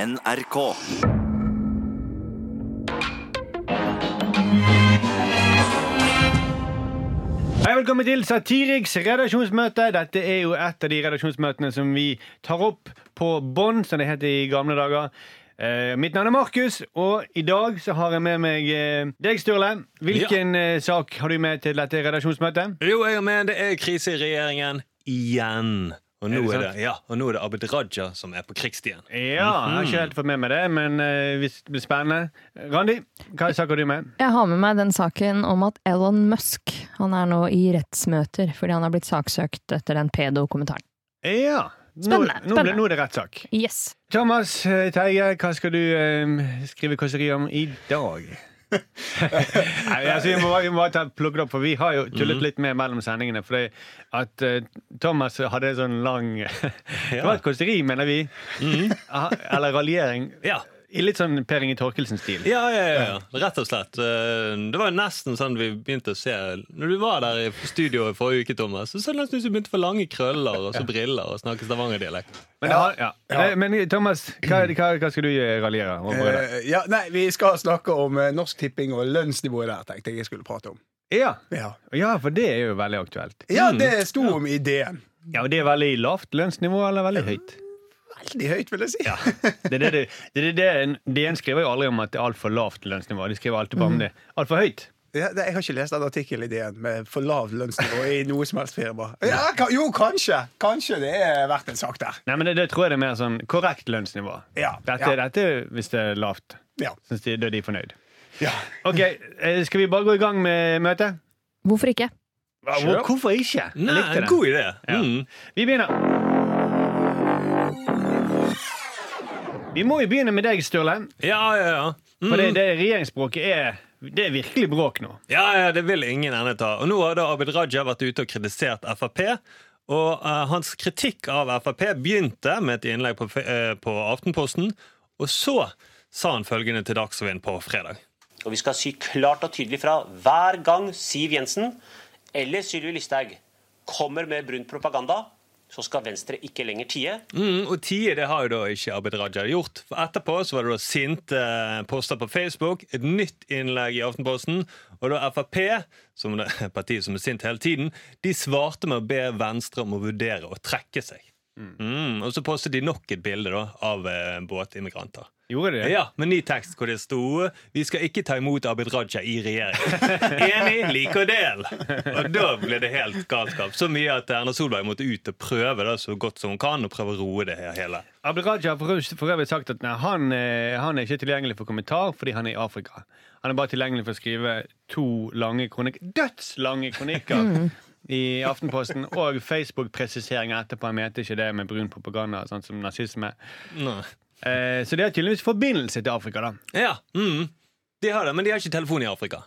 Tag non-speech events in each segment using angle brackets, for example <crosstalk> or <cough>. NRK. Hei, velkommen til Satiriks redaksjonsmøte. Dette er jo et av de redaksjonsmøtene som vi tar opp på bånd, som det het i gamle dager. Eh, mitt navn er Markus, og i dag så har jeg med meg eh, deg, Sturle. Hvilken eh, sak har du med til dette redaksjonsmøtet? Jo, jeg er med. Det er krise i regjeringen igjen. Og nå Er det er, det, sant? ja, og nå er det Abid Raja som er på krigsstien. Ja, jeg har ikke helt fått med meg det, men eh, hvis det blir spennende. Randi, hva sak har du med? Jeg har med meg den saken om at Elon Musk han er nå i rettsmøter fordi han har blitt saksøkt etter den pedo-kommentaren. Ja. Nå, Spennende, Nå, ble, spennende. nå er det rettssak. Yes. Thomas eh, Teige, hva skal du eh, skrive kåseri om i dag? Nei, altså, vi må, bare- vi må bare ta, plukke det opp, for vi har jo tullet litt med mellom sendingene. Fordi at eh, Thomas hadde en sånn lang Det var et kåseri, mener vi. Ah, Eller raljering. Ja. I litt sånn Per Inge Torkelsen-stil. Ja, ja, ja, ja. Rett og slett. Eh, Det var jo nesten sånn vi begynte å se Når du var der i studio i forrige uke, Thomas, så så det nesten ut som du begynte å få lange krøller og så briller og snakke stavangerdialekt. Men, det har- ja. Det- men Thomas, hva, hva, hva skal du eh, raljere over i dag? Eh, ja, nei, vi skal snakke om eh, Norsk Tipping og lønnsnivået der, tenkte jeg jeg skulle prate om. Ja. Ja, ja, for det er jo veldig aktuelt. ja det sto om i DN. Ja, og Det er veldig lavt lønnsnivå, eller veldig høyt? Veldig høyt, vil jeg si. Det er det, det, det, er det en- DN skriver jo aldri om at det er altfor lavt lønnsnivå. De skriver alltid bare om det. Altfor høyt. <laughs> Ja, nei, jeg har ikke lest den artikkelen i DN med for lavt lønnsnivå i noe som helst firma. Ja, ka, jo, kanskje. Kanskje det er verdt en sak der. Nei, men det, det tror jeg det er mer sånn korrekt lønnsnivå. Ja, Dette, ja. dette hvis det er lavt. Ja. Synes de, da er de fornøyd. ja. Ok, eh, Skal vi bare gå i gang med møtet? Hvorfor ikke? Hva- Sure. Hvorfor ikke? Jeg Nei, likte det. god idé. Ja. Mm. Vi begynner. Vi må jo begynne med deg, Sturle. Ja, ja, ja. Mm. For det, det regjeringsspråket er, det er virkelig bråk nå. Ja, ja, det vil ingen ende ta. Og nå har da Abid Raja vært ute og kritisert Frp. Og eh, hans kritikk av Frp begynte med et innlegg på, fe- eh, på Aftenposten. Og så sa han følgende til Dagsrevyen på fredag. Og vi skal si klart og tydelig fra hver gang Siv Jensen eller Sylvi Listhaug kommer med brun propaganda, så skal Venstre ikke lenger tie. Mm, og tie det har jo da ikke Abid Raja gjort. For etterpå så var det da sinte eh, poster på Facebook, et nytt innlegg i Aftenposten, og da Frp, som det <laughs> er partiet som er sint hele tiden, de svarte med å be Venstre om å vurdere å trekke seg. Mm, og så postet de nok et bilde da av eh, båtimmigranter. Gjorde de det? Ja, Med ny tekst hvor det sto 'Vi skal ikke ta imot Abid Raja i <laughs> regjering'. Enig, lik og del! Og da ble det helt galskap. Så mye at Erna Solberg måtte ut og prøve det så godt som hun kan, og prøve å roe det her hele. Abid Raja har for for øvrig sagt at nei, han, eh, han er ikke tilgjengelig for kommentar fordi han er i Afrika. Han er bare tilgjengelig for å skrive to lange kronik dødslange Mm. kronikker i Aftenposten. Og Facebook-presiseringer etterpå. Han mente ikke det med brun propaganda, sånn som nazisme. Nei. Eh, så det har tydeligvis forbindelse til Afrika, da. Ja, mm, De har det, men de har ikke telefon i Afrika.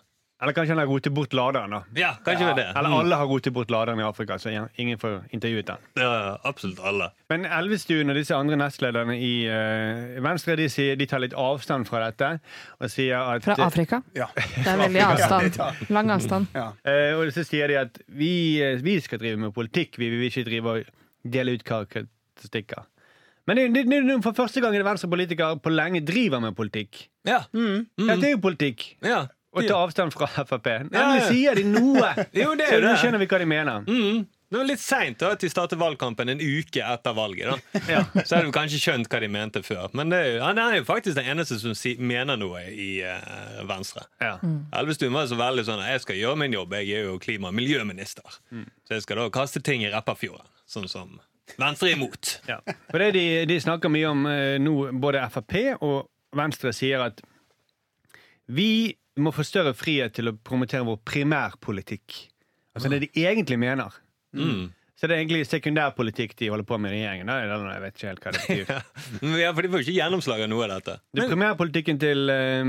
Eller kanskje han har rotet bort laderen, da. Ja, kanskje det Mm. er det. Mm. Eller alle har rotet bort laderen i Afrika, så ingen får intervjuet den. Ja, absolutt alle. Men Elvestuen og disse andre nestlederne i eh, Venstre de, sier, de tar litt avstand fra dette. Og sier at Fra <laughs> Afrika? Ja. Det er veldig <laughs> avstand. Lang avstand. Eh, og så sier de at vi, eh, vi skal drive med politikk, vi vil ikke drive og dele ut karakteristikker. Men det, det, det, for første gang er det venstrepolitikere på lenge driver med politikk. Ja. Dette er jo politikk. Mm. ja. Å ta avstand fra Frp. Nei, Ja, men ja. sier de noe, <laughs> Jo, det er så jo nå det. skjønner vi hva de mener. Mm. Det var litt seint at de startet valgkampen en uke etter valget. da Så hadde vi kanskje skjønt hva de mente før. Men det er jo, han er jo faktisk den eneste som si, mener noe i eh, Venstre. Ja. Elvestuen var så veldig sånn Jeg skal gjøre min jobb, jeg er jo klima- og miljøminister. Så jeg skal da kaste ting i Repparfjorden. Sånn som Venstre er imot. Ja. For det de, de snakker mye om eh, nå, både Frp og Venstre sier at vi må få større frihet til å promotere vår primærpolitikk. Altså det de egentlig mener. Mm. <laughs> Så det er egentlig sekundærpolitikk de holder på med i regjeringen. da, eller noe, Jeg vet ikke helt hva det <laughs> betyr. Men ja, for de får jo ikke gjennomslag av noe av dette. Det primærpolitikken til eh,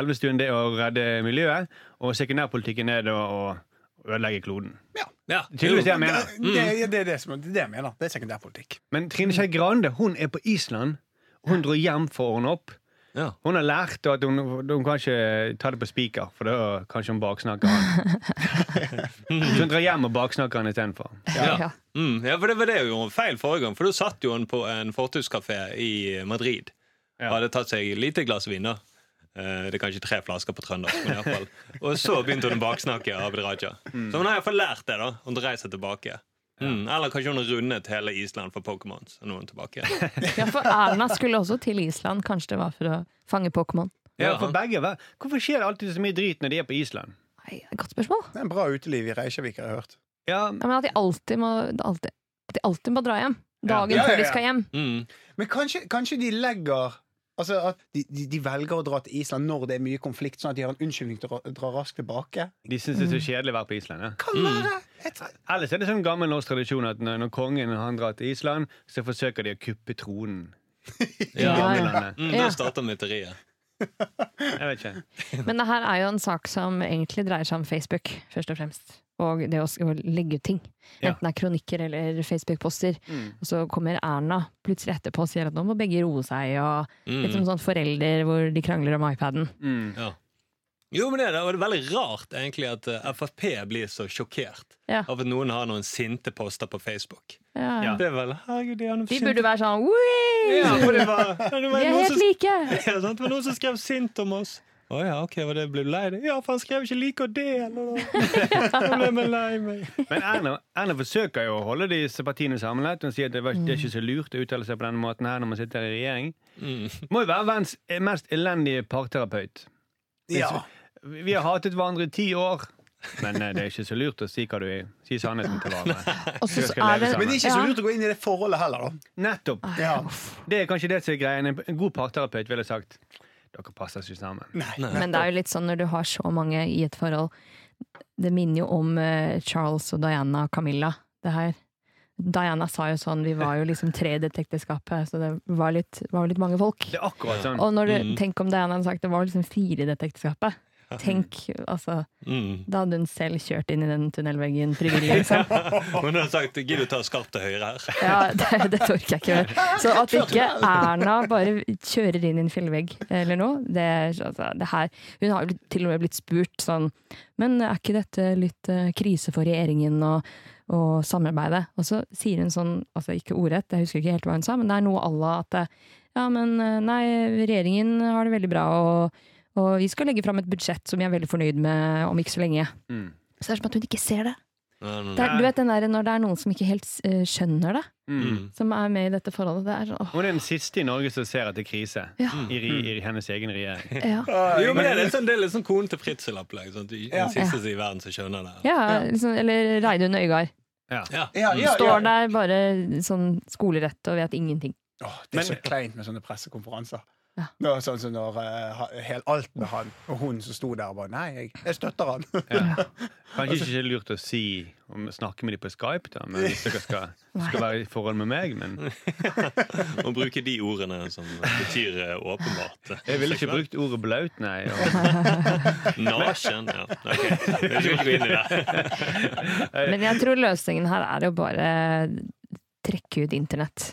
Elvestuen det er å redde miljøet, og sekundærpolitikken er da å ødelegge kloden. Ja, Tydeligvis det jo. jeg mener. Det, det, det er det, som, det er det jeg mener. Det er sekundærpolitikk. Men Trine Skei Grande hun er på Island. Hun dro hjem for å ordne opp. Ja. Hun har lært at hun, hun kan ikke ta det på spiker, for da kanskje hun baksnakker <laughs> han. Så hun drar hjem og baksnakker han istedenfor. Ja. Ja. Mm, ja, for det var det jo feil forrige gang, for da satt jo han på en fortauskafé i Madrid. Hadde tatt seg lite glass vin. da Eh, Det er kanskje tre flasker på trøndersk. Men i hvert fall. Og så begynte hun å baksnakke Abid Raja. Så hun har iallfall lært det. da Hun dreier seg tilbake. Mm. Eller kanskje hun har rundet hele Island for Pokémon. Så nå er hun tilbake. Ja, for Erna skulle også til Island. Kanskje det var for å fange Pokémon. Ja, Ja. for begge, hva? Hvorfor skjer det alltid så mye drit når de er på Island? Nei, Godt spørsmål. Det er en bra uteliv i Reykjavik, har jeg hørt. Ja, Ja, men at de alltid må, alltid, at de alltid må dra hjem. Dagen Ja, ja, før de ja. skal hjem. Mm. Men kanskje, kanskje de legger Altså at de, de, de velger å dra til Island når det er mye konflikt, sånn at de har en unnskyldning til å ra- dra raskt tilbake? De syns det er så kjedelig å være på Island. Ja. Kan være! Jeg tror- Ellers er det sånn gammel norsk tradisjon at når, når kongen han drar til Island, så forsøker de å kuppe tronen. Ja. I gamle landet. Mm, Ja. Da starter myteriet. Jeg vet ikke. Men det her er jo en sak som egentlig dreier seg om Facebook, først og fremst. Og det å s- å legge ut ting. Ja. Enten det er kronikker eller Facebook-poster. Og så kommer Erna plutselig etterpå og sier at nå må begge roe seg. Og litt som sånn forelder hvor de krangler om iPaden. Mm. Ja. Jo, men det er det, og det er veldig rart egentlig at eh, Frp blir så sjokkert Ja. av at noen har noen sinte poster på Facebook. Ja. Ja. Det er vel, herregud, de har noen De sinte- burde være sånn «Wee! Ja, for det var, det var Vi noen er helt som, like! <laughs> ja, sant? Det var noen som skrev sint om oss. Å ja, ok, var det, ble du lei deg? Ja, for han skrev ikke 'like og del'. og da- Da ble vi lei meg. Men Erna, Erna forsøker jo å holde disse partiene samlet. Hun sier at det, var, det er ikke så lurt å uttale seg på denne måten her når man sitter i regjering. Mm. Må jo være verdens mest elendige parterapeut. Ja. Vi har hatet hverandre i ti år. Men eh, det er ikke så lurt å si hva du er. Si sannheten til hverandre. Og så Vi skal er leve det sammen. Men det er ikke så Ja. lurt å gå inn i det forholdet heller, da. Nettopp. Ja. Det er kanskje det som er greien. En god parterapeut ville sagt dere passer ikke sammen. Men det er jo litt sånn når du har så mange i et forhold Det minner jo om eh, Charles og Diana og Camilla, det her. Diana sa jo sånn Vi var jo liksom tre i dette ekteskapet, så det var litt, var litt mange folk. Det er akkurat sånn. Og når du, tenk om Diana hadde sagt det var liksom fire i dette ekteskapet. Tenk, altså Mm. <laughs> Da hadde hun selv kjørt inn i den tunnelveggen frivillig, liksom. Men hun har sagt 'gidder du ta skarpt til høyre her'? Ja, det, det orker jeg ikke mer. Så at ikke Erna bare kjører inn i en fjellvegg eller noe det, er- altså, det her, Hun har jo blitt- til og med blitt spurt sånn Men er ikke dette litt eh, krise for regjeringen og, og samarbeidet? Og så sier hun sånn, altså ikke ordrett, jeg husker ikke helt hva hun sa, men det er noe à la at eh, Ja, men eh, nei, regjeringen har det veldig bra, og, og vi skal legge fram et budsjett som vi er veldig fornøyd med om ikke så lenge. Mm. Så det er som at hun ikke ser det. Nei, nei, det er, du vet den der, når det er noen som ikke helt eh, skjønner det Mm. som er med i dette forholdet. Det er sånn, åh, Hun er den siste i Norge som ser at det er krise Ja. i, ri- i hennes egen <laughs> regjering. ja. nei. Jo, men det er litt sånn, det er litt sånn konen til Fritzel-opplegg. sånn at du- Ja. Den siste i verden som skjønner det. ja, liksom, eller Reidun Øygard. Ja. Ja. Ja, ja, Står ja. der bare sånn skolerett og vet ingenting. Åh, det er så Men- kleint med sånne pressekonferanser. Ja. Nå, sånn som når eh, ha- hel- alt med han og hun som sto der og bare Nei, jeg, jeg støtter han. Kanskje ikke så lurt å si om, snakke med dem på Skype, da, men hvis dere <laughs> skal, skal være i forhold med meg. Men <laughs> Og Mm. bruke de ordene som betyr eh, åpenbart. jeg ville ikke brukt ordet blaut, nei. Og, <laughs> Nasjen. Ja. ok. Jeg skal ikke gå inn i <laughs> <laughs> det. Eh, Men jeg tror løsningen her er å bare trekke ut internett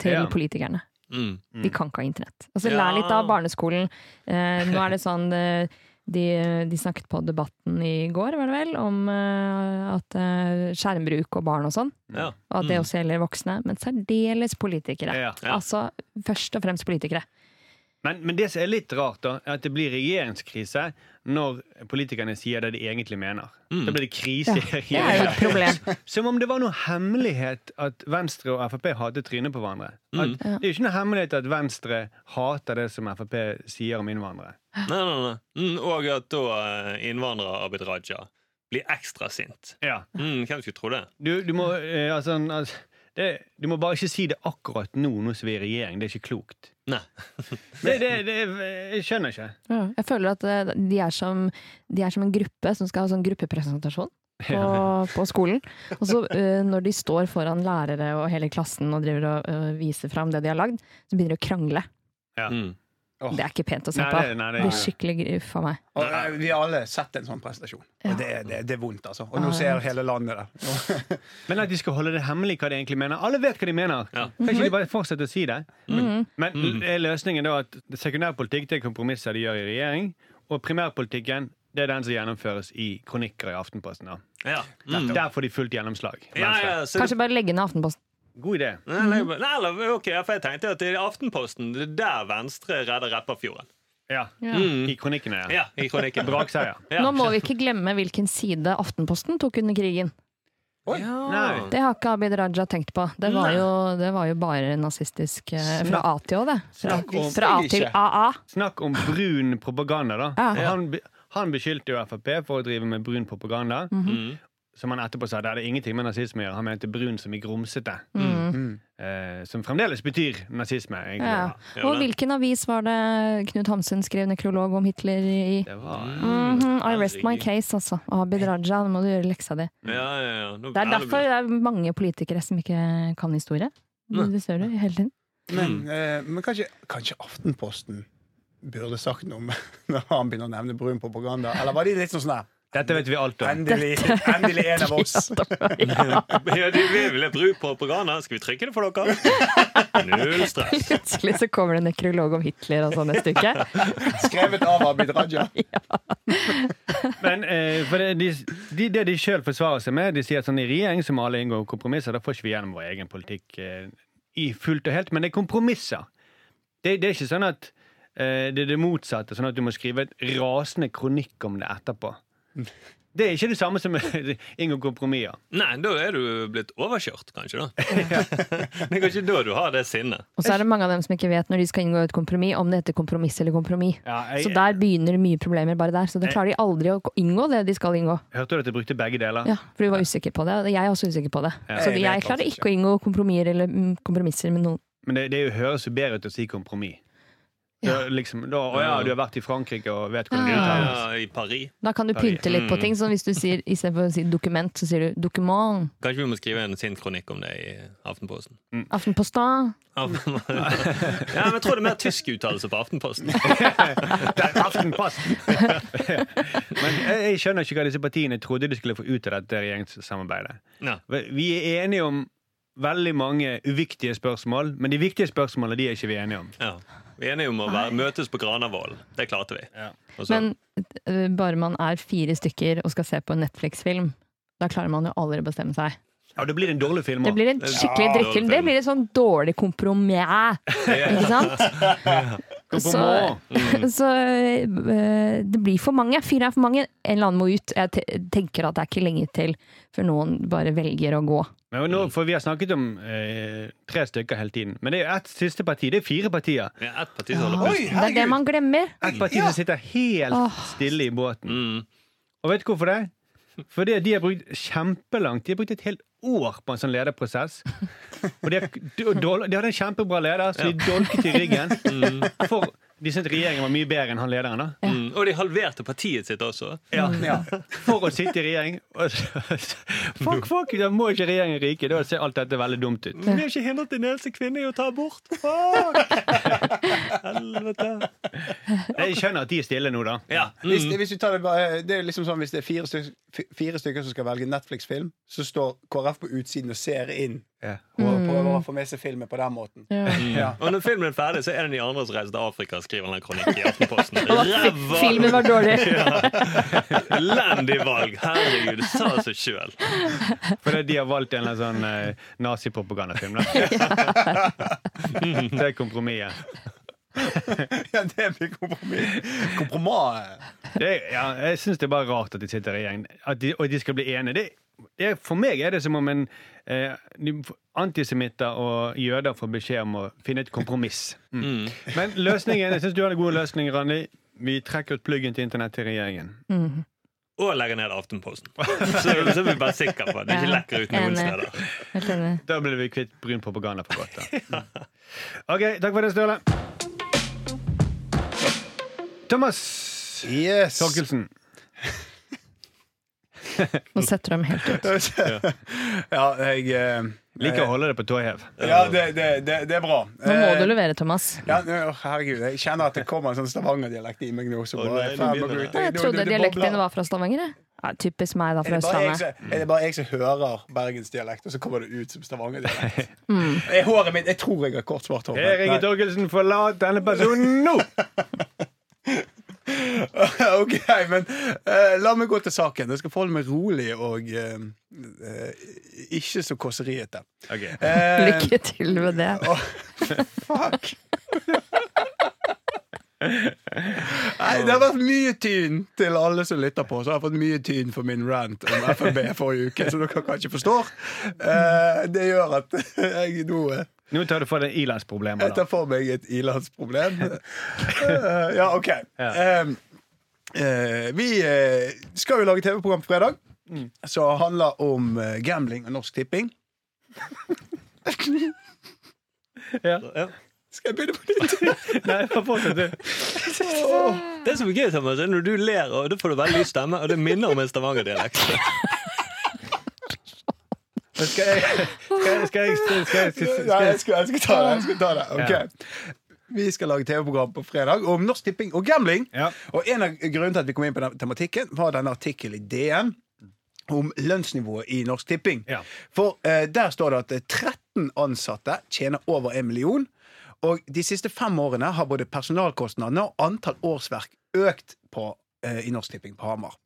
til Ja. politikerne. Mm. De kan ikke ha internett. Altså, Ja. Lær litt av barneskolen. Eh, nå er det sånn eh, de, de snakket på Debatten i går, var det vel, om eh, at eh, skjermbruk og barn og sånn. Ja. Og at det også gjelder voksne, men særdeles politikere. Ja. Altså først og fremst politikere. men, men det som er litt rart, da, er at det blir regjeringskrise når politikerne sier det de egentlig mener. Mm. Da blir det krise. i Det er jo regjeringen. et problem. Som om det var noe hemmelighet at Venstre og Frp hater trynet på hverandre. At, Det er jo ikke noe hemmelighet at Venstre hater det som Frp sier om innvandrere. Nei, nei, nei. Mm, og at da eh, innvandrer Abid Raja blir ekstra sint. Ja. Mm, hvem skulle tro det? Du, du, må, eh, altså, altså, det, du må bare ikke si det akkurat nå, nå som vi er i regjering. Det er ikke klokt. Nei. Det, det, det, jeg skjønner ikke. Jeg føler at eh, de er som, de er som en gruppe som skal ha sånn gruppepresentasjon på, på skolen. Og så eh, når de står foran lærere og hele klassen og driver og eh, viser fram det de har lagd, så begynner de å krangle. Mm. Det er ikke pent å se Nei, på. det- nei, det- Det blir skikkelig gr- uff a meg. <laughs> Og, eh, vi har alle sett en sånn prestasjon. Og det, er- det, er- det er vondt, altså. Og nå ser hele landet det. Nå- Men at de skal holde det hemmelig hva de egentlig mener. Alle vet hva de mener! Ja. Mhm. Kan Mhm. ikke de bare fortsette å si det? Men er løsningen da at sekundærpolitikk det er kompromisser de gjør i regjering, og primærpolitikken det er den som gjennomføres i kronikker i Aftenposten. da. Ja. Mm. Der får de fullt gjennomslag. ja, ja, så Kanskje bare legge ned Aftenposten. God idé. Nei, legg på- Nei, eller, ok, for jeg tenkte at i Aftenposten det er der Venstre redder Repparfjorden. Mm. Ja. Ja. I kronikkene, ja. Mhm. Ja, i kronikken. Brakseier. Ja. Nå må vi ikke glemme hvilken side Aftenposten tok under krigen. Nei. Det har ikke Abid Raja tenkt på. Det var jo, det var jo bare nazistisk eh, fra A til Å, det. Fra, Snakk om- fra A til AA. Snakk om brun propaganda, da. Ja. For Han, be- han beskyldte jo Frp for å drive med brun propaganda. Mhm. Mm. Som han etterpå sa, det hadde ingenting med nazisme å gjøre. Han mente brun som i grumsete. Eh, som fremdeles betyr nazisme, egentlig. Mm. Ja. Og hvilken avis var det Knut Hamsun skrev nekrolog om Hitler i? Det var Mhm, I rest my herregud. case, altså. Abid Raja, nå må du gjøre leksa di. Ja, ja, ja. Nå- Det er derfor det er mange politikere som ikke kan historie. Det ser du hele <laughs> tiden. Men, Mm. eh, men kanskje, kanskje Aftenposten burde sagt noe om <laughs> når han begynner å nevne brun propaganda? Eller var de litt sånn sånn der Dette vet vi alt om. Endelig, endelig en av oss! <laughs> <laughs> Ja, de vil bruke propaganda. Skal vi trykke det for dere? Null stress. Plutselig så kommer det en nekrolog om Hitler og sånn neste uke. Skrevet av Abid Raja. Men eh, for det, de, de, det de sjøl forsvarer seg med, de sier at sånn i regjering som alle inngår kompromisser, da får ikke vi gjennom vår egen politikk eh, i fullt og helt. Men det er kompromisser. Det, det er ikke sånn at eh, det er det motsatte, sånn at du må skrive et rasende kronikk om det etterpå. Det er ikke det samme som <laughs> inngå kompromisser. Nei, da er du blitt overkjørt, kanskje. da <laughs> Det er kanskje da du har det sinnet. Og så er det mange av dem som ikke vet når de skal inngå et kompromiss, om det heter kompromiss eller kompromiss. Ja, jeg- Så der begynner det mye problemer bare der. Så det klarer de aldri å inngå det de skal inngå. Hørte du at jeg brukte begge deler? Ja, for du var usikker på det, og jeg er også usikker på det. Så Jeg vet jeg klarer altså ikke å inngå kompromisser eller mm, kompromisser med noen. Men det, det er jo høres jo bedre ut å si kompromiss. Da, liksom, da, å ja, du har vært i Frankrike og vet hvordan det uttales. Ja, I Paris. Da kan du pynte litt på ting. Så hvis du sier istedenfor å si dokument, så sier du dokument. Kanskje vi må skrive en sint kronikk om det i Aftenposten. Mm. Aftenposten. Ja, men <laughs> jeg tror det er mer tysk uttalelse på Aftenposten. <laughs> Det er <laughs> Aftenposten! Men jeg, jeg skjønner ikke hva disse partiene trodde de skulle få ut av dette regjeringssamarbeidet. Ja. Vi er enige om veldig mange uviktige spørsmål, men de viktige spørsmålene de er ikke vi enige om. Ja. Vi er enige om å være, møtes på Granavolden. Det klarte vi. Og så- Men øh, bare man er fire stykker og skal se på en Netflix-film, da klarer man jo aldri å bestemme seg. Ja, det blir en dårlig film. Det også. blir en skikkelig drittfilm. Det blir et sånn dårlig kompromiss, ikke sant? Så, så øh, det blir for mange. Fire er for mange. En eller annen må ut. Jeg te- tenker at det er ikke lenge til før noen bare velger å gå. Men nå, for vi har snakket om eh, tre stykker hele tiden. Men det er jo ett siste parti. Det er fire partier. Det er ett parti som holder Oi, pusten. Det er det herregud! man glemmer. Ett parti som sitter helt stille i båten. Mm. Og vet du hvorfor det? Fordi de har brukt kjempelangt De har brukt et helt år på en sånn lederprosess. Og de, har, de, dol- de hadde en kjempebra leder, så de dolket i ryggen. For de syntes regjeringen var mye bedre enn han lederen. da Mm. Og de halverte partiet sitt også. Ja. For å sitte i regjering. Og så- Fuck, fuck, da må ikke regjeringen ryke. Da ser alt dette veldig dumt ut. Vi har ikke hindret en eneste kvinne i å ta abort. Fuck! <laughs> Helvete. Jeg skjønner at de er stille nå, da. Ja. Hvis, Mm. hvis du tar det, bare- det er liksom sånn hvis det er fire stykker, fire stykker som skal velge Netflix-film, så står KrF på utsiden og ser inn Ja. Mm. og prøver å få med seg filmen på den måten. Ja. Og når filmen er ferdig, så er det de andre som reiser til Afrika og skriver en kronikk i Aftenposten. Og at fi- filmen Ræva! var <laughs> dårlig. Elendig valg! Herregud, det sa seg sjøl. Fordi de har valgt en eller annen sånn eh, nazipropagandafilm. da. Det er kompromisset. Ja, det blir kompromiss. Kompromat. Det, ja, jeg syns det er bare rart at de sitter i gjeng, at de, og de skal bli enige. Det, det, er- for meg er det som om en eh, de- antisemitter og jøder får beskjed om å finne et kompromiss. Mm. Men løsningen, jeg syns du har en god løsning, Randi. Vi trekker ut pluggen til internett til regjeringen. Mm, Og legger ned Aftenposten. Så, så er vi bare sikre på at det ikke lekker ut noen Ja, enig. steder. Helt enig. Da blir vi kvitt brun propaganda for <laughs> godt. Da. OK, takk for det, Støle. Thomas Yes. Torkelsen. Nå setter de helt ut. <laughs> Ja, jeg eh, Liker å holde det på tå hev. Ja, det, det, det, det er bra. Eh, Nå Eh, må du levere, Thomas. Ja, nå, herregud, jeg kjenner at det kommer en sånn Stavanger-dialekt i meg nå. Så Å, nei, bare, jeg er ferdig du med å begynner. glute. Jeg Nå- trodde det- det dialekten din bobler. var fra Stavanger. jeg. Ja, typisk meg, da, Er fra det, bare jeg Østlandet. som, er det bare jeg som hører bergensdialekt, og så kommer det ut som Stavanger-dialekt? Mm. Er Håret mitt Jeg tror jeg har kort, svart hår. Erik Nei. <laughs> Torkelsen, forlat denne personen nå! Ja, <laughs> ok, men eh, la meg gå til saken. Jeg skal forholde meg rolig og eh, eh, ikke så <laughs> kåseriete. Ok. Eh, Lykke til med det. Eh, Åh, <laughs> <laughs> fuck! Nei, Det har vært mye tyn til alle som lytter på. Så har jeg fått mye tyn for min rant om FNB forrige uke, som dere kanskje forstår. Eh, det gjør at <laughs> jeg nå eh, Nå tar du for deg ilandsproblemer, jeg da. tar for meg et <laughs> ilandsproblem. Eh, ja, OK. Ja. Em, eh, vi eh, skal jo lage TV-program på fredag Mm. som handler om eh, gambling og Norsk Tipping. Ja. Skal jeg begynne på nytt? Nei, bare fortsett, du. Det som er gøy, Thomas, er når du ler, og da får du veldig lys stemme, og det minner om en Stavanger-dialekt. Men Skal jeg <laughs> Skal jeg, skal jeg, skal jeg, skal jeg, skal jeg, Nei, jeg skal, jeg skal ta det. Jeg skal ta det. Ok. Ja. Vi skal lage TV-program på fredag om Norsk Tipping og gambling. Ja. Og en av grunnene til at vi kom inn på den tematikken, var denne artikkelen i DN om lønnsnivået i Norsk Tipping. Ja. For eh, der står det at eh, 13 ansatte tjener over 1 million. Og de siste fem årene har både personalkostnadene og antall årsverk økt på, eh, i Norsk Tipping på Hamar.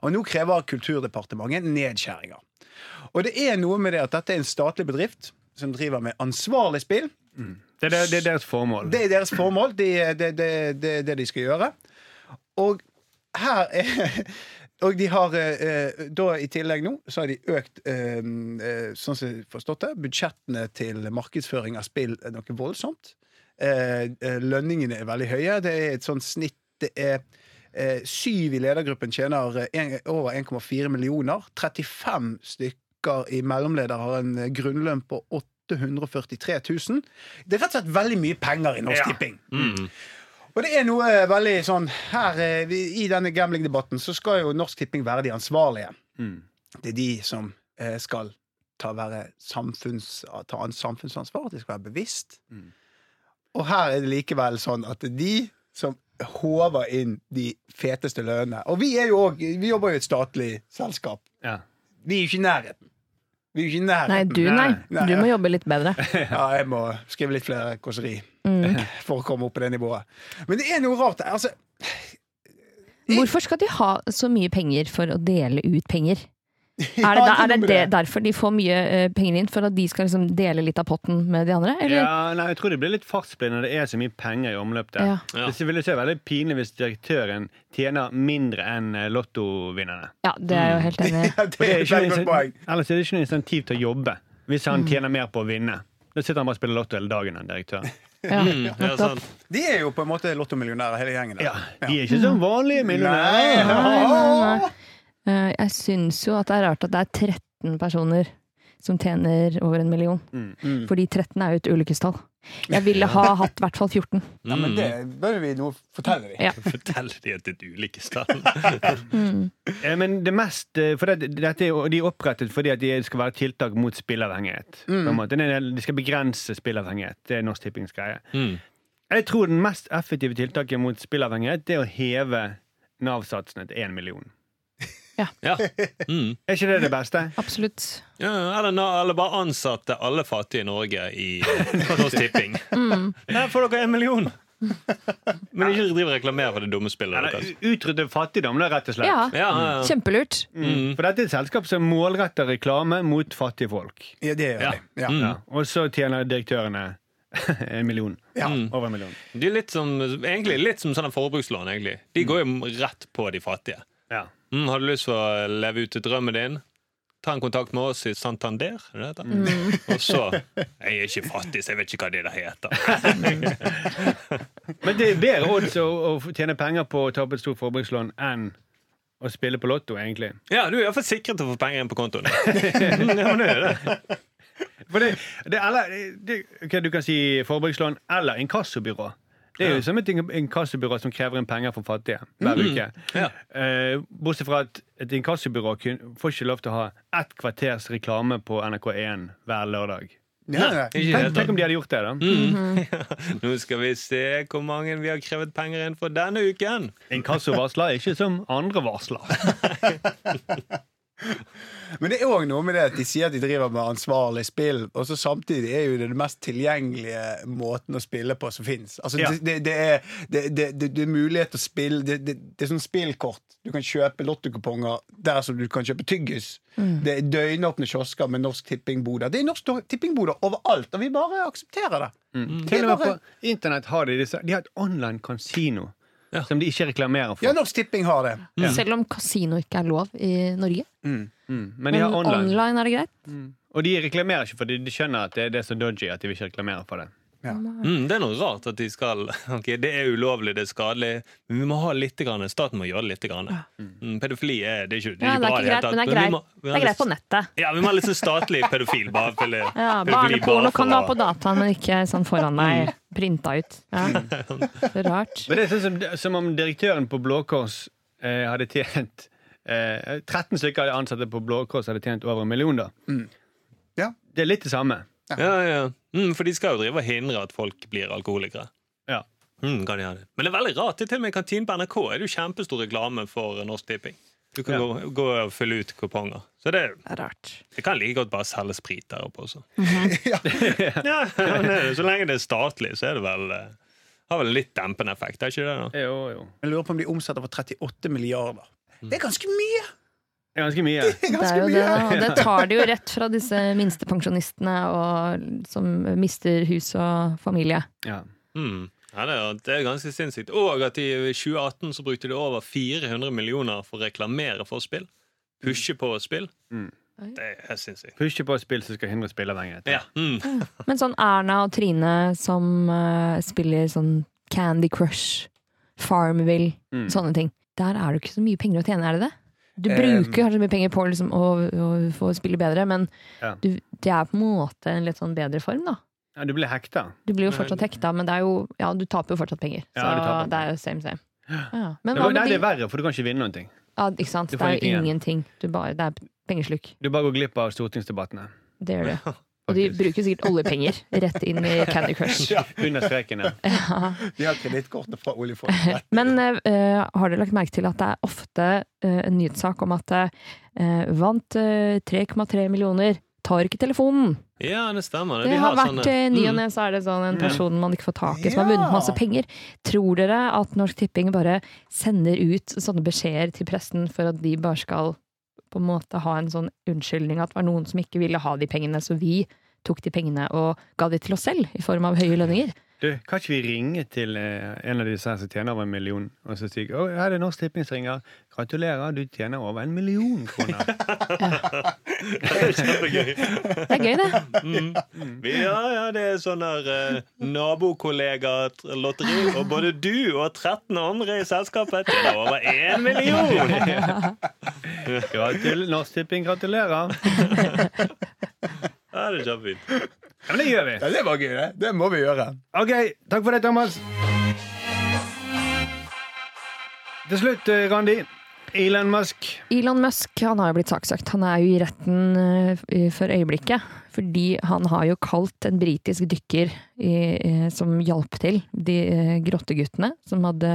Og nå krever Kulturdepartementet nedskjæringer. Og det er noe med det at dette er en statlig bedrift som driver med ansvarlig spill. Det, er, der- det er deres formål. Det er deres formål. Det er det, det, det, er det de skal gjøre. Og her er Og de har eh, eh, da i tillegg nå så har de økt, eh, eh, sånn som jeg har forstått det, budsjettene til markedsføring av spill er noe voldsomt. Eh, eh, lønningene er veldig høye. Det er et sånt snitt det er eh, Syv i ledergruppen tjener eh, en, over 1,4 millioner. 35 stykker i mellomleder har en eh, grunnlønn på 843 000. Det er rett og slett veldig mye penger i Norsk Tipping. Og det er noe eh, veldig sånn her eh, vi- I denne gamblingdebatten så skal jo Norsk Tipping være de ansvarlige. Mm. Det er de som eh, skal ta, være samfunns, ta an samfunnsansvar, at de skal være bevisst. Og her er det likevel sånn at det er de som håver inn de feteste lønnene Og vi, er jo også, vi jobber jo i et statlig selskap. Ja. Vi er jo ikke i nærheten. Vi er jo ikke i Nei, nærheten. du nei. Nei. Du må jobbe litt bedre. <laughs> Ja, jeg må skrive litt flere kåseri for å komme opp på det nivået. Men det er noe rart. Altså, Hvorfor skal de ha så mye penger for å dele ut penger? Er det, <laughs> Ja, er det, noe med det derfor de får mye eh, penger inn? For at de skal liksom dele litt av potten med de andre? Eller? Ja, nei, jeg tror det blir litt fartsblind når det er så mye penger i omløp der. Ja. Ja. Det ville se veldig pinlig hvis direktøren tjener mindre enn eh, lottovinnerne. Ja, det er jeg jo helt enig i. <laughs> Ja, det er Det er et ikke veldig noe godt poeng. insen- Ellers er det ikke noe insentiv til å jobbe hvis han tjener mer på å vinne. Da sitter han bare og spiller lotto hele dagen, den direktøren. Ja, Mm, ja, nettopp. sant. De er jo på en måte lottomillionærer, hele gjengen. der. Ja, de er ikke som vanlige millionærer. Nei, Nei, nei, åh. nei. Eh, Jeg syns jo at det er rart at det er 13 personer som tjener over en million. Mm, Fordi 13 er jo et ulykkestall. Jeg ville ha <laughs> hatt i hvert fall 14. Ja, men det bør vi nå fortelle dem. Ja. Fortell de at det er et ulykkestall. Eh, Men det mest eh, For det, dette er jo, de er opprettet fordi at de skal være tiltak mot spilleavhengighet. På en måte. Det er- De skal begrense spilleavhengighet. Det er Norsk Tippings greie. Mm. Jeg tror den mest effektive tiltaket mot spillavhengighet Det er å heve Nav-satsene til 1 million. Ja. Mm. Er ikke det det beste? Absolutt. Ja, eller, nå- eller bare ansatte alle fattige i Norge i Norsk Tipping. Mm. Der får dere en million! Men ikke driv og reklamer for det dumme spillet <laughs> Eller deres. u- utrydde fattigdom, da, rett og slett. Ja, Ja, ja, ja. kjempelurt. Mm. For dette er et selskap som målretter reklame mot fattige folk. Ja, det gjør Ja. de. Ja. Mm. Ja. Og så tjener direktørene <laughs> en million. Ja. Over en million. De er litt som, egentlig litt som sånne forbrukslån. egentlig De går jo rett på de fattige. Ja. Mm, har du lyst til å leve ut drømmen din? Ta en kontakt med oss i Santander. er det det heter? Mm. Og så Jeg er ikke fattig, så jeg vet ikke hva det der heter. <laughs> Men det er bedre odds å, å tjene penger på å ta opp et stort forbrukslån enn å spille på Lotto, egentlig. Ja, Du er iallfall sikret å få penger inn på kontoen. <laughs> Mm, Ja, men det er det. For det, det, er eller, det, ok, du kan si forbrukslån eller inkassobyrå. Det er jo som et ink- inkassobyrå som krever inn penger for fattige hver uke. Mm. Ja. Eh, bortsett fra at et inkassobyrå kun, får ikke lov til å ha ett kvarters reklame på NRK1 hver lørdag. Ja, ja. Ikke Tenk, helt tenk om de hadde gjort det, da. Mm. Nå skal vi se hvor mange vi har krevet penger inn for denne uken. Inkassovarsler er ikke som andre varsler. Men det er òg noe med det at de sier at de driver med ansvarlig spill, og så samtidig er jo det den mest tilgjengelige måten å spille på som fins. Altså, Ja. det, det, det, er- det, det, det, det er mulighet til å spille Det, det, det er sånn spillkort. Du kan kjøpe lottokuponger der som du kan kjøpe tyggis. Mm. Det er døgnåpne kiosker med Norsk Tipping-boder. Det er Norsk Tipping-boder overalt, og vi bare aksepterer det. Det Mm. Til er og med bare, på internett har de disse. De har et online kasino Ja. som de ikke reklamerer for. ja, Norsk Tipping har det. Selv om kasino ikke er lov i Norge. Mm. Men de Men har online. online er det greit. Og de reklamerer ikke for det. De skjønner at det er det som er dodgy, at de vil ikke reklamere for det. <laughs> Mm, det er noe rart at de skal Ok, det er ulovlig, det er skadelig, men vi må ha litt grann, staten må gjøre litt. Grann. Mm, pedofili er det er ikke, det Ja, er ikke det bra er i det hele ikke greit, tatt. men det er men vi greit, må- vi det har er greit litt- på nettet. Ja, vi må ha litt sånn statlig pedofil. Bare, pille, Ja, pedofili Barneporno bare Mm. kan du ha for på å- dataen, men ikke sånn foran deg, printa ut. Ja. Så rart. Men det er sånn som, som om direktøren på Blå Kors eh, hadde tjent eh, 13 stykker av de ansatte på Blå Kors hadde tjent over en million, da. Ja. Det er litt det samme. Ja, ja. Mm, for de skal jo drive og hindre at folk blir alkoholikere. Ja. Mm, kan de ha det. Men det er veldig rart. Det er til og med i kantinen på NRK er det jo kjempestor reklame for Norsk Tipping. Du Ja. kan gå, gå og fylle ut kuponger. Så det, Det er rart. det kan like godt bare selge sprit der oppe også. ja, men det- så lenge det er statlig, så er det vel eh, Har vel litt dempende effekt, er ikke det? da? Jo, jo. Jeg lurer på om de omsetter for 38 milliarder. Det er ganske mye! Det er ganske mye. <laughs> Det er Det ganske er jo det, mye. da. og det tar det jo rett fra disse minstepensjonistene og, som mister hus og familie. Ja. Mm. Ja, det, er, det er ganske sinnssykt. Og at de, i 2018 så brukte de over 400 millioner for å reklamere for spill. Pushe på spill. Mm. Det er sinnssykt. Pushe på spill som skal hindre spilleavhengighet. Ja. Mm. Men sånn Erna og Trine som eh, spiller sånn Candy Crush, Farmville, Mm. sånne ting. Der er det jo ikke så mye penger å tjene, er det det? Du Eh, bruker kanskje mye penger på liksom, å, å få spille bedre, men Ja. du, det er på en måte en litt sånn bedre form, da. Ja, du blir hekta. Du blir jo fortsatt hekta, men det er jo, ja, du taper jo fortsatt penger. Så Ja, du taper det er jo same, same. Ja. Men Det, hva var- nei, med det er de verre, for du kan ikke vinne noen ting. ja, Ikke sant. Du Det får er jo ingenting ingenting. Du bare, det er pengesluk. Du bare går glipp av stortingsdebattene. Det gjør du. Og de bruker sikkert <laughs> oljepenger rett inn i Candy Crush. Under streken, ja. Ja. De har kredittkortene fra oljefondet. <laughs> rett. Men eh, eh, har dere lagt merke til at det er ofte eh, en nyhetssak om at eh, vant eh, 3,3 millioner, tar ikke telefonen? ja, det stemmer. Det De har vært sånne- eh, ny og Mm. ne, så er det sånn en person man ikke får tak i, som har Ja. vunnet masse penger. Tror dere at Norsk Tipping bare sender ut sånne beskjeder til pressen for at de bare skal på en måte ha en sånn unnskyldning at det var noen som ikke ville ha de pengene, så vi tok de pengene og ga de til oss selv i form av høye lønninger? Du, kan ikke vi ringe til eh, en av disse her som tjener over en million, og så sier Å, her er det Norsk Tipping som ringer. Gratulerer, du tjener over en million kroner. Kjempegøy. Det er gøy, det. Mm. Ja, ja, det er sånn der eh, nabokollega-lotteri, og både du og 13 andre i selskapet Det er over én <laughs> million! <laughs> Gratul Norsk Tipping gratulerer. Ja, det er kjempefint. <laughs> Ja, men det gjør vi. Ja, det var gøy, det. Det må vi gjøre. OK, takk for det, Thomas. Til slutt, eh, Randi. Elon Musk. Elon Musk han har jo blitt saksøkt. Han er jo i retten eh, for øyeblikket. Fordi han har jo kalt en britisk dykker i, eh, som hjalp til, de eh, grotteguttene som hadde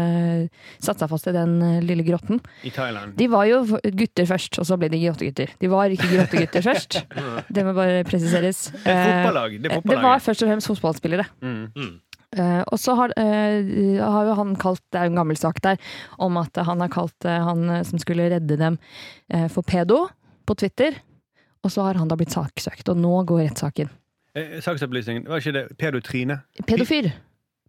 satt seg fast i den eh, lille grotten. I Thailand. De var jo gutter først, og så ble de grottegutter. De var ikke grottegutter først. <laughs> Det må bare presiseres. Det er et Eh, fotballag. Det er det var fotballaget. først og fremst fotballspillere. Mm. Mm. Eh, og så har, eh, har jo han kalt, det er jo en gammel sak der, om at han har kalt eh, han eh, som skulle redde dem eh, for pedo på Twitter. Og så har han da blitt saksøkt, og nå går rettssaken. Eh, Saksopplysning. Var ikke det Pedo Trine? Pedofyr.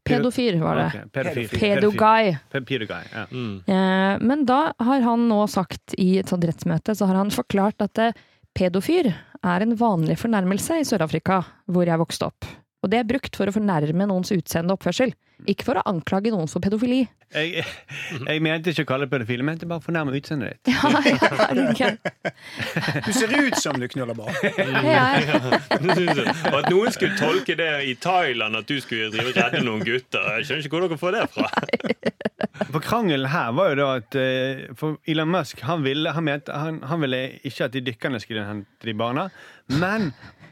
Pedofyr var det. Ok, pedofil. Pedoguy. Pedofil. Pedoguy, ja. Mm. Eh, men da har han nå sagt i et sånt rettsmøte, så har han forklart at eh, pedofyr er en vanlig fornærmelse i Sør-Afrika, hvor jeg vokste opp. Og det er brukt for å fornærme noens utseende og oppførsel, ikke for å anklage noen for pedofili. <laughs> Jeg, <laughs> jeg mente ikke å kalle det pedofil, jeg mente bare å fornærme utseendet ditt. Ja, ja, det er gøy. Du ser ut som du knuller barn. Ja, ja. Og at noen skulle tolke det i Thailand, at du skulle drive og redde noen gutter. Jeg skjønner ikke hvor dere får det fra. For krangelen her var jo da at eh, For Elon Musk han ville, han, mente, han, han ville ikke at de dykkerne skulle hente de barna. Men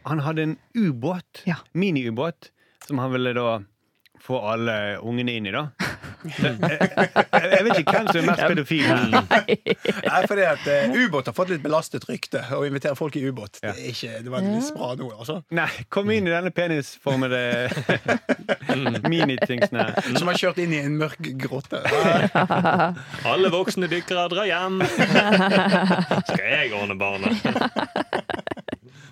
han hadde en ubåt, Ja. <laughs> miniubåt, som han ville da få alle ungene inn i. da Jeg jeg vet ikke hvem som er mest pedofil her. <laughs> Nei, fordi at eh, ubåt har fått litt belastet rykte. Å invitere folk i ubåt, det, er ikke, det var litt bra nå, altså. <laughs> Nei, kom inn i denne penisformede <laughs> Mm. minitingsen her. Som har kjørt inn i en mørk grotte. Alle voksne dykkere drar hjem. Skal jeg ordne barnet?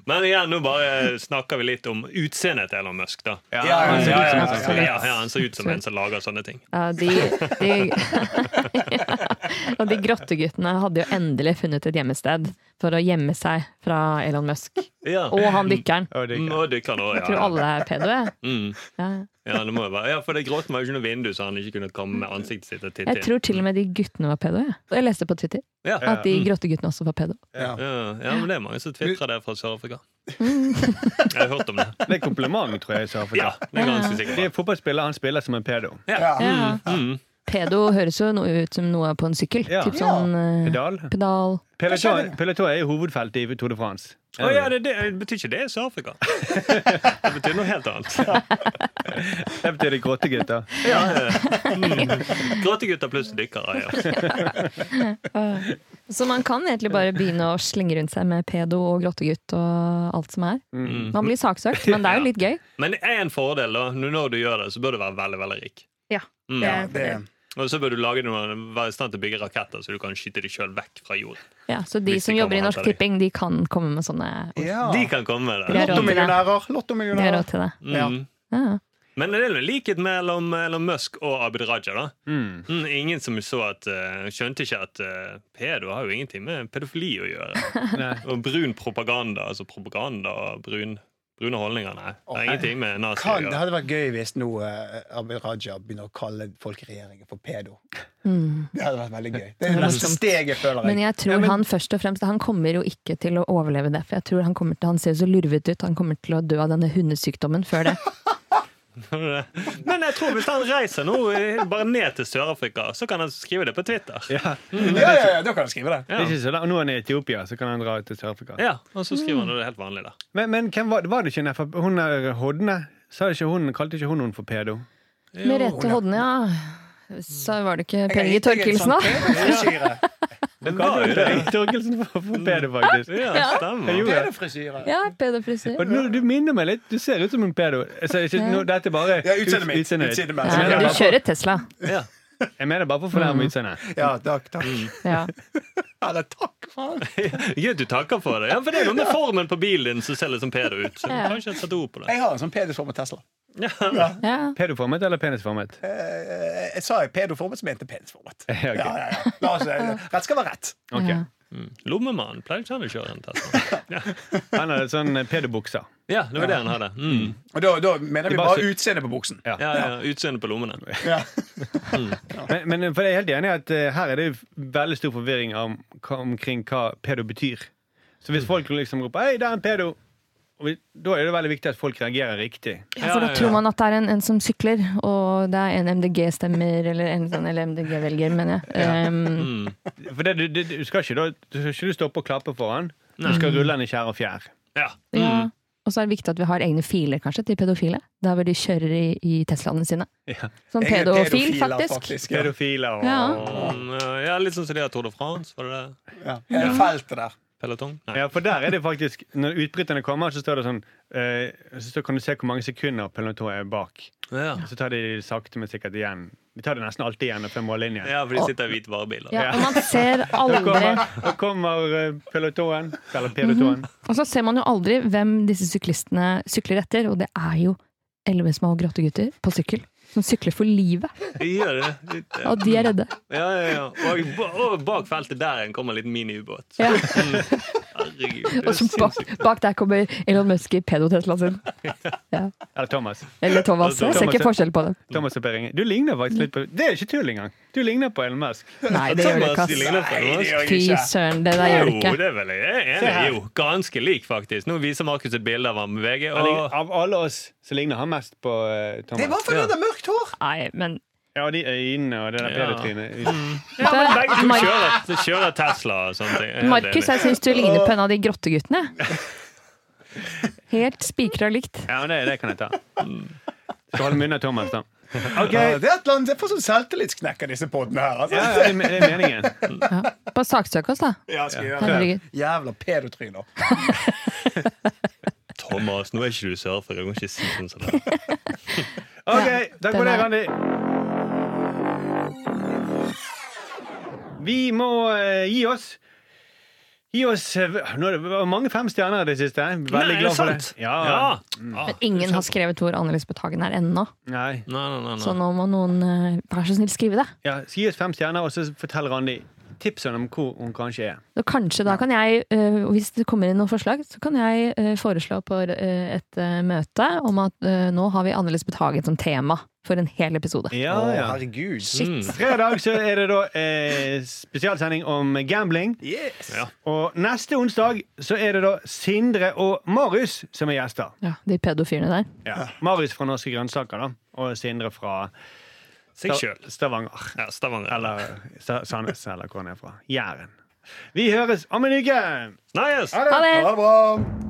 Men igjen, nå bare snakker vi litt om utseendet til Elon Musk, da. Ja, ja, han ser ut som en ja, som- ja, ja, han ser ut som en som lager sånne ting. Ja, de, de, <laughs> og de grotteguttene hadde jo endelig funnet et gjemmested for å gjemme seg fra Elon Musk. Ja. Og han dykkeren. Å, det er Mm, ikke- Og dykkeren òg, Jeg tror ja. alle er pedo, jeg. Mm. Ja. Ja, det må jo være. ja, for det gråten var jo ikke noe vindu, så han ikke kunne komme med ansiktet sitt og titte Jeg inn. tror til og med de guttene var pedo. Jeg, jeg leste på Twitter Ja. at de grotteguttene også var pedo. Ja. Ja, ja, men det er mange som tvitrer det fra Sør-Afrika. Mm. <laughs> Jeg har hørt om det. Det er kompliment, tror jeg jeg sa. for Ja, det. det er ganske sikkert. Det er fotballspiller, han spiller som en pedo. Ja. Ja. Mm. Pedo høres jo noe ut som noe på en sykkel. Ja. Typ sånn eh, Pedal. pedal. Peloton, Peloton er jo hovedfeltet i Tour de France. Å ja, det, det betyr ikke det er <laughs> Sør-Afrika. Det betyr noe helt annet. Det betyr det grottegutter. Ja, ja. Mm. Gråtegutter pluss dykkere. Ja. Så man kan egentlig bare begynne å slenge rundt seg med pedo og grottegutt og alt som er. Man blir saksøkt, men det er jo litt gøy. Mm. Men en fordel, da. nå Når du gjør det, så bør du være veldig veldig rik. Ja, Mm. det er- Det, Og så bør du lage noen, være i stand til å bygge raketter, så du kan skyte deg sjøl vekk fra jorden. Ja, så de Hvis de som jobber kommer i og Norsk henter deg. Tipping, de kan komme med sånne ja. De kan komme med Vi det. har råd til det. De har råd Lottomillionærer. Lottomillionærer. til det. Ja. Mm. Ja. Men det er jo en likhet mellom Elon Musk og Abid Raja. da <laughs> mm, Ingen som så at eh, skjønte ikke at eh, pedo har jo ingenting med pedofili å gjøre. Nei. Og brun propaganda, altså propaganda og brun, brune holdninger, nei. Det har ingenting med nazi å Kan, det gjøre. hadde vært gøy hvis nå eh, Abid Raja begynner å kalle folk i regjeringen for pedo. Det hadde vært veldig gøy. Det er det neste Mm. Morsomt. steget, føler Men jeg. jeg tror han først og fremst Han kommer jo ikke til å overleve det. For jeg tror han, kommer til, han ser jo så lurvet ut. Han kommer til å dø av denne hundesykdommen før det. <laughs> Men jeg tror hvis han reiser nå eh, bare ned til Sør-Afrika, så kan han skrive det på Twitter. Ja. Ja, ja, ja, da kan du skrive det. Det er ikke så langt. Nå er han i Etiopia, så kan han dra til Sør-Afrika. Ja, Og så skriver han det helt vanlig, da. Men, men hvem var, var det ikke en FrP? Hun der Hodne? Sa ikke hun, kalte ikke hun noen for pedo? Merete Hodne, ja. Så var det ikke Jeg Penny er ikke Torkelsen, da? Pedofrisyre. <laughs> Det var jo det. Mm. Kalte Torkelsen for, for pedo, faktisk. Ja, stemmer. Jeg gjorde det. Pedofrisyre. Ja, pedofrisyr. Og nå, du minner meg litt. Du ser ut som en pedo. Altså, ikke, nå, dette er bare Ja, utseendet mitt. utseendet ditt. Utseendet mitt. Jeg Ja, mener du bare for- kjører Tesla. Ja. Jeg mener bare for å fornærme utseendet. Ja, takk, takk. Ja. Eller takk, faen. Gøy at du takker for det. Ja, For det er noe <laughs> med formen på bilen din som ser litt sånn pedo ut. Så du Ja. kan ikke sette ord på det. Jeg har en sånn pedoformet Tesla. Ja. Pedoformet eller penisformet? Eh, Jeg sa jeg pedoformet, så mente jeg penisformet. <laughs> Ja, ok. Ja, ja, ja. La oss, eh, rett skal være rett. Ok. Ja. Lommemannen pleier ikke han å kjøre en Tesla. Ja. Han hadde sånn eh, pedobukser. ja, det var det han hadde. Mm. Og da, da mener Det vi bare bare sy- utseendet på buksen. Ja, ja, Utseende på lommene. Ja. Men, men for jeg er helt enig i at eh, her er det veldig stor forvirring om, omkring hva pedo betyr. Så hvis folk liksom roper 'hei, det er en pedo', og vi, da er det veldig viktig at folk reagerer riktig. Ja, for da tror man at det er en, en som sykler, og det er en MDG-stemmer, eller en sånn, eller MDG-velger, mener jeg. Um, For det, du, du, du, skal ikke, da, du skal ikke stoppe og klappe for han. Du skal rulle han i skjær og fjær. Ja. ja. Og så er det viktig at vi har egne filer, kanskje, til pedofile. Der hvor de kjører i, i Teslaene sine. Ja. Som Jeg er pedofil, pedofiler, faktisk. ja. Pedofiler og Ja. Mm, ja, Litt sånn som de har Tour de France. Var det det? Ja. Jeg er feltet der. Pelotong? Nei. Ja, for der er det faktisk Når utbryterne kommer, så står det sånn eh, Så står- kan du se hvor mange sekunder peloton er bak. Ja. Så tar de sakte, men sikkert igjen. De tar det nesten alltid igjen før mållinjen. ja, for de sitter i hvite varebiler. Ja, og man <laughs> ser Da aldri kommer, da kommer eh, pelotonen, eller pelotonen. Og så ser man jo aldri hvem disse syklistene sykler etter, og det er jo elleve små grottegutter på sykkel. Som sykler for livet, De Gjør det. Ja, og de er redde. ja, ja. Og, ba- og bak feltet der igjen kommer en liten miniubåt. Mm. Ja. Herregud. det er <laughs> Og så bak, sinnssykt. bak der kommer Elon Musk i pedo-Teslaen sin. Ja. Eller Thomas. Eller Thomas. Jeg ser ikke forskjell på dem. Thomas og Per Inge. Du ligner faktisk litt på Det er ikke tull engang! Du ligner på Elon Musk. Nei, det gjør det ikke, Thomas, de ass. ligner på Nei, det oss. gjør Fy jeg ikke. søren, det der gjør det Jo, ikke. det er vel jeg er Se her. enig jo. Ganske lik, faktisk. Nå viser Markus et bilde av ham med VG. Han ligner- Og Av alle oss så ligner han mest på eh, Det var Thomas. fordi det er mørkt hår! Nei, men Ja, og de øynene og det der Ja. pedotrynet. ja, men begge to Mar- kjører, de kjører Tesla og sånne ting. Jeg er helt Markus, enig. jeg syns du ligner på en av de grotteguttene. Helt spikra likt. Ja, men det, det kan jeg ta. Skal holde munn av Thomas, da. Ok. Ja, det er et eller annet, jeg får sånn selvtillitsknekk av disse podene her. Altså. Ja, ja, det, er me- det er meningen. Ja. Bare saksøk oss, da. Ja, skal jeg gjøre det. Herregud. Jævla pedotryner. Thomas, nå er ikke du surfer. Jeg kan ikke si sånn som det. Ok, Ja, takk for den det, er- Randi. Vi må eh, gi oss. Gi oss eh, Nå er det var mange fem stjerner i det siste. Veldig Nei, er det glad for det. sant? Ja. Mm. Ja. Ah. Men ingen har skrevet hvor Anne Lisbeth Hagen er ennå, Nei. Nei, nei, nei, nei. så nå må noen eh, vær så snill skrive det. Ja, så gi oss fem stjerner, og så fortell Randi tipsene om hvor hun kanskje er. Så kanskje da kan jeg, eh, og hvis det kommer inn noen forslag, så kan jeg eh, foreslå på eh, et eh, møte om at eh, nå har vi Anne Lisbeth Hagen som tema for en hel episode. Ja, Å, ja. Mm. herregud. Fredag så er det da eh, spesialsending om gambling. Yes. Ja. Og neste onsdag så er det da Sindre og Marius som er gjester. Ja, de pedofilene der. Ja. Marius fra Norske Grønnsaker da, og Sindre fra Seg sjøl. Stavanger. Ja, Stavanger. Eller Sa- Sandnes, eller hvor han er fra. Jæren. Vi høres om en uke! Nei, yes. Ha det. Ha det. Ha det bra.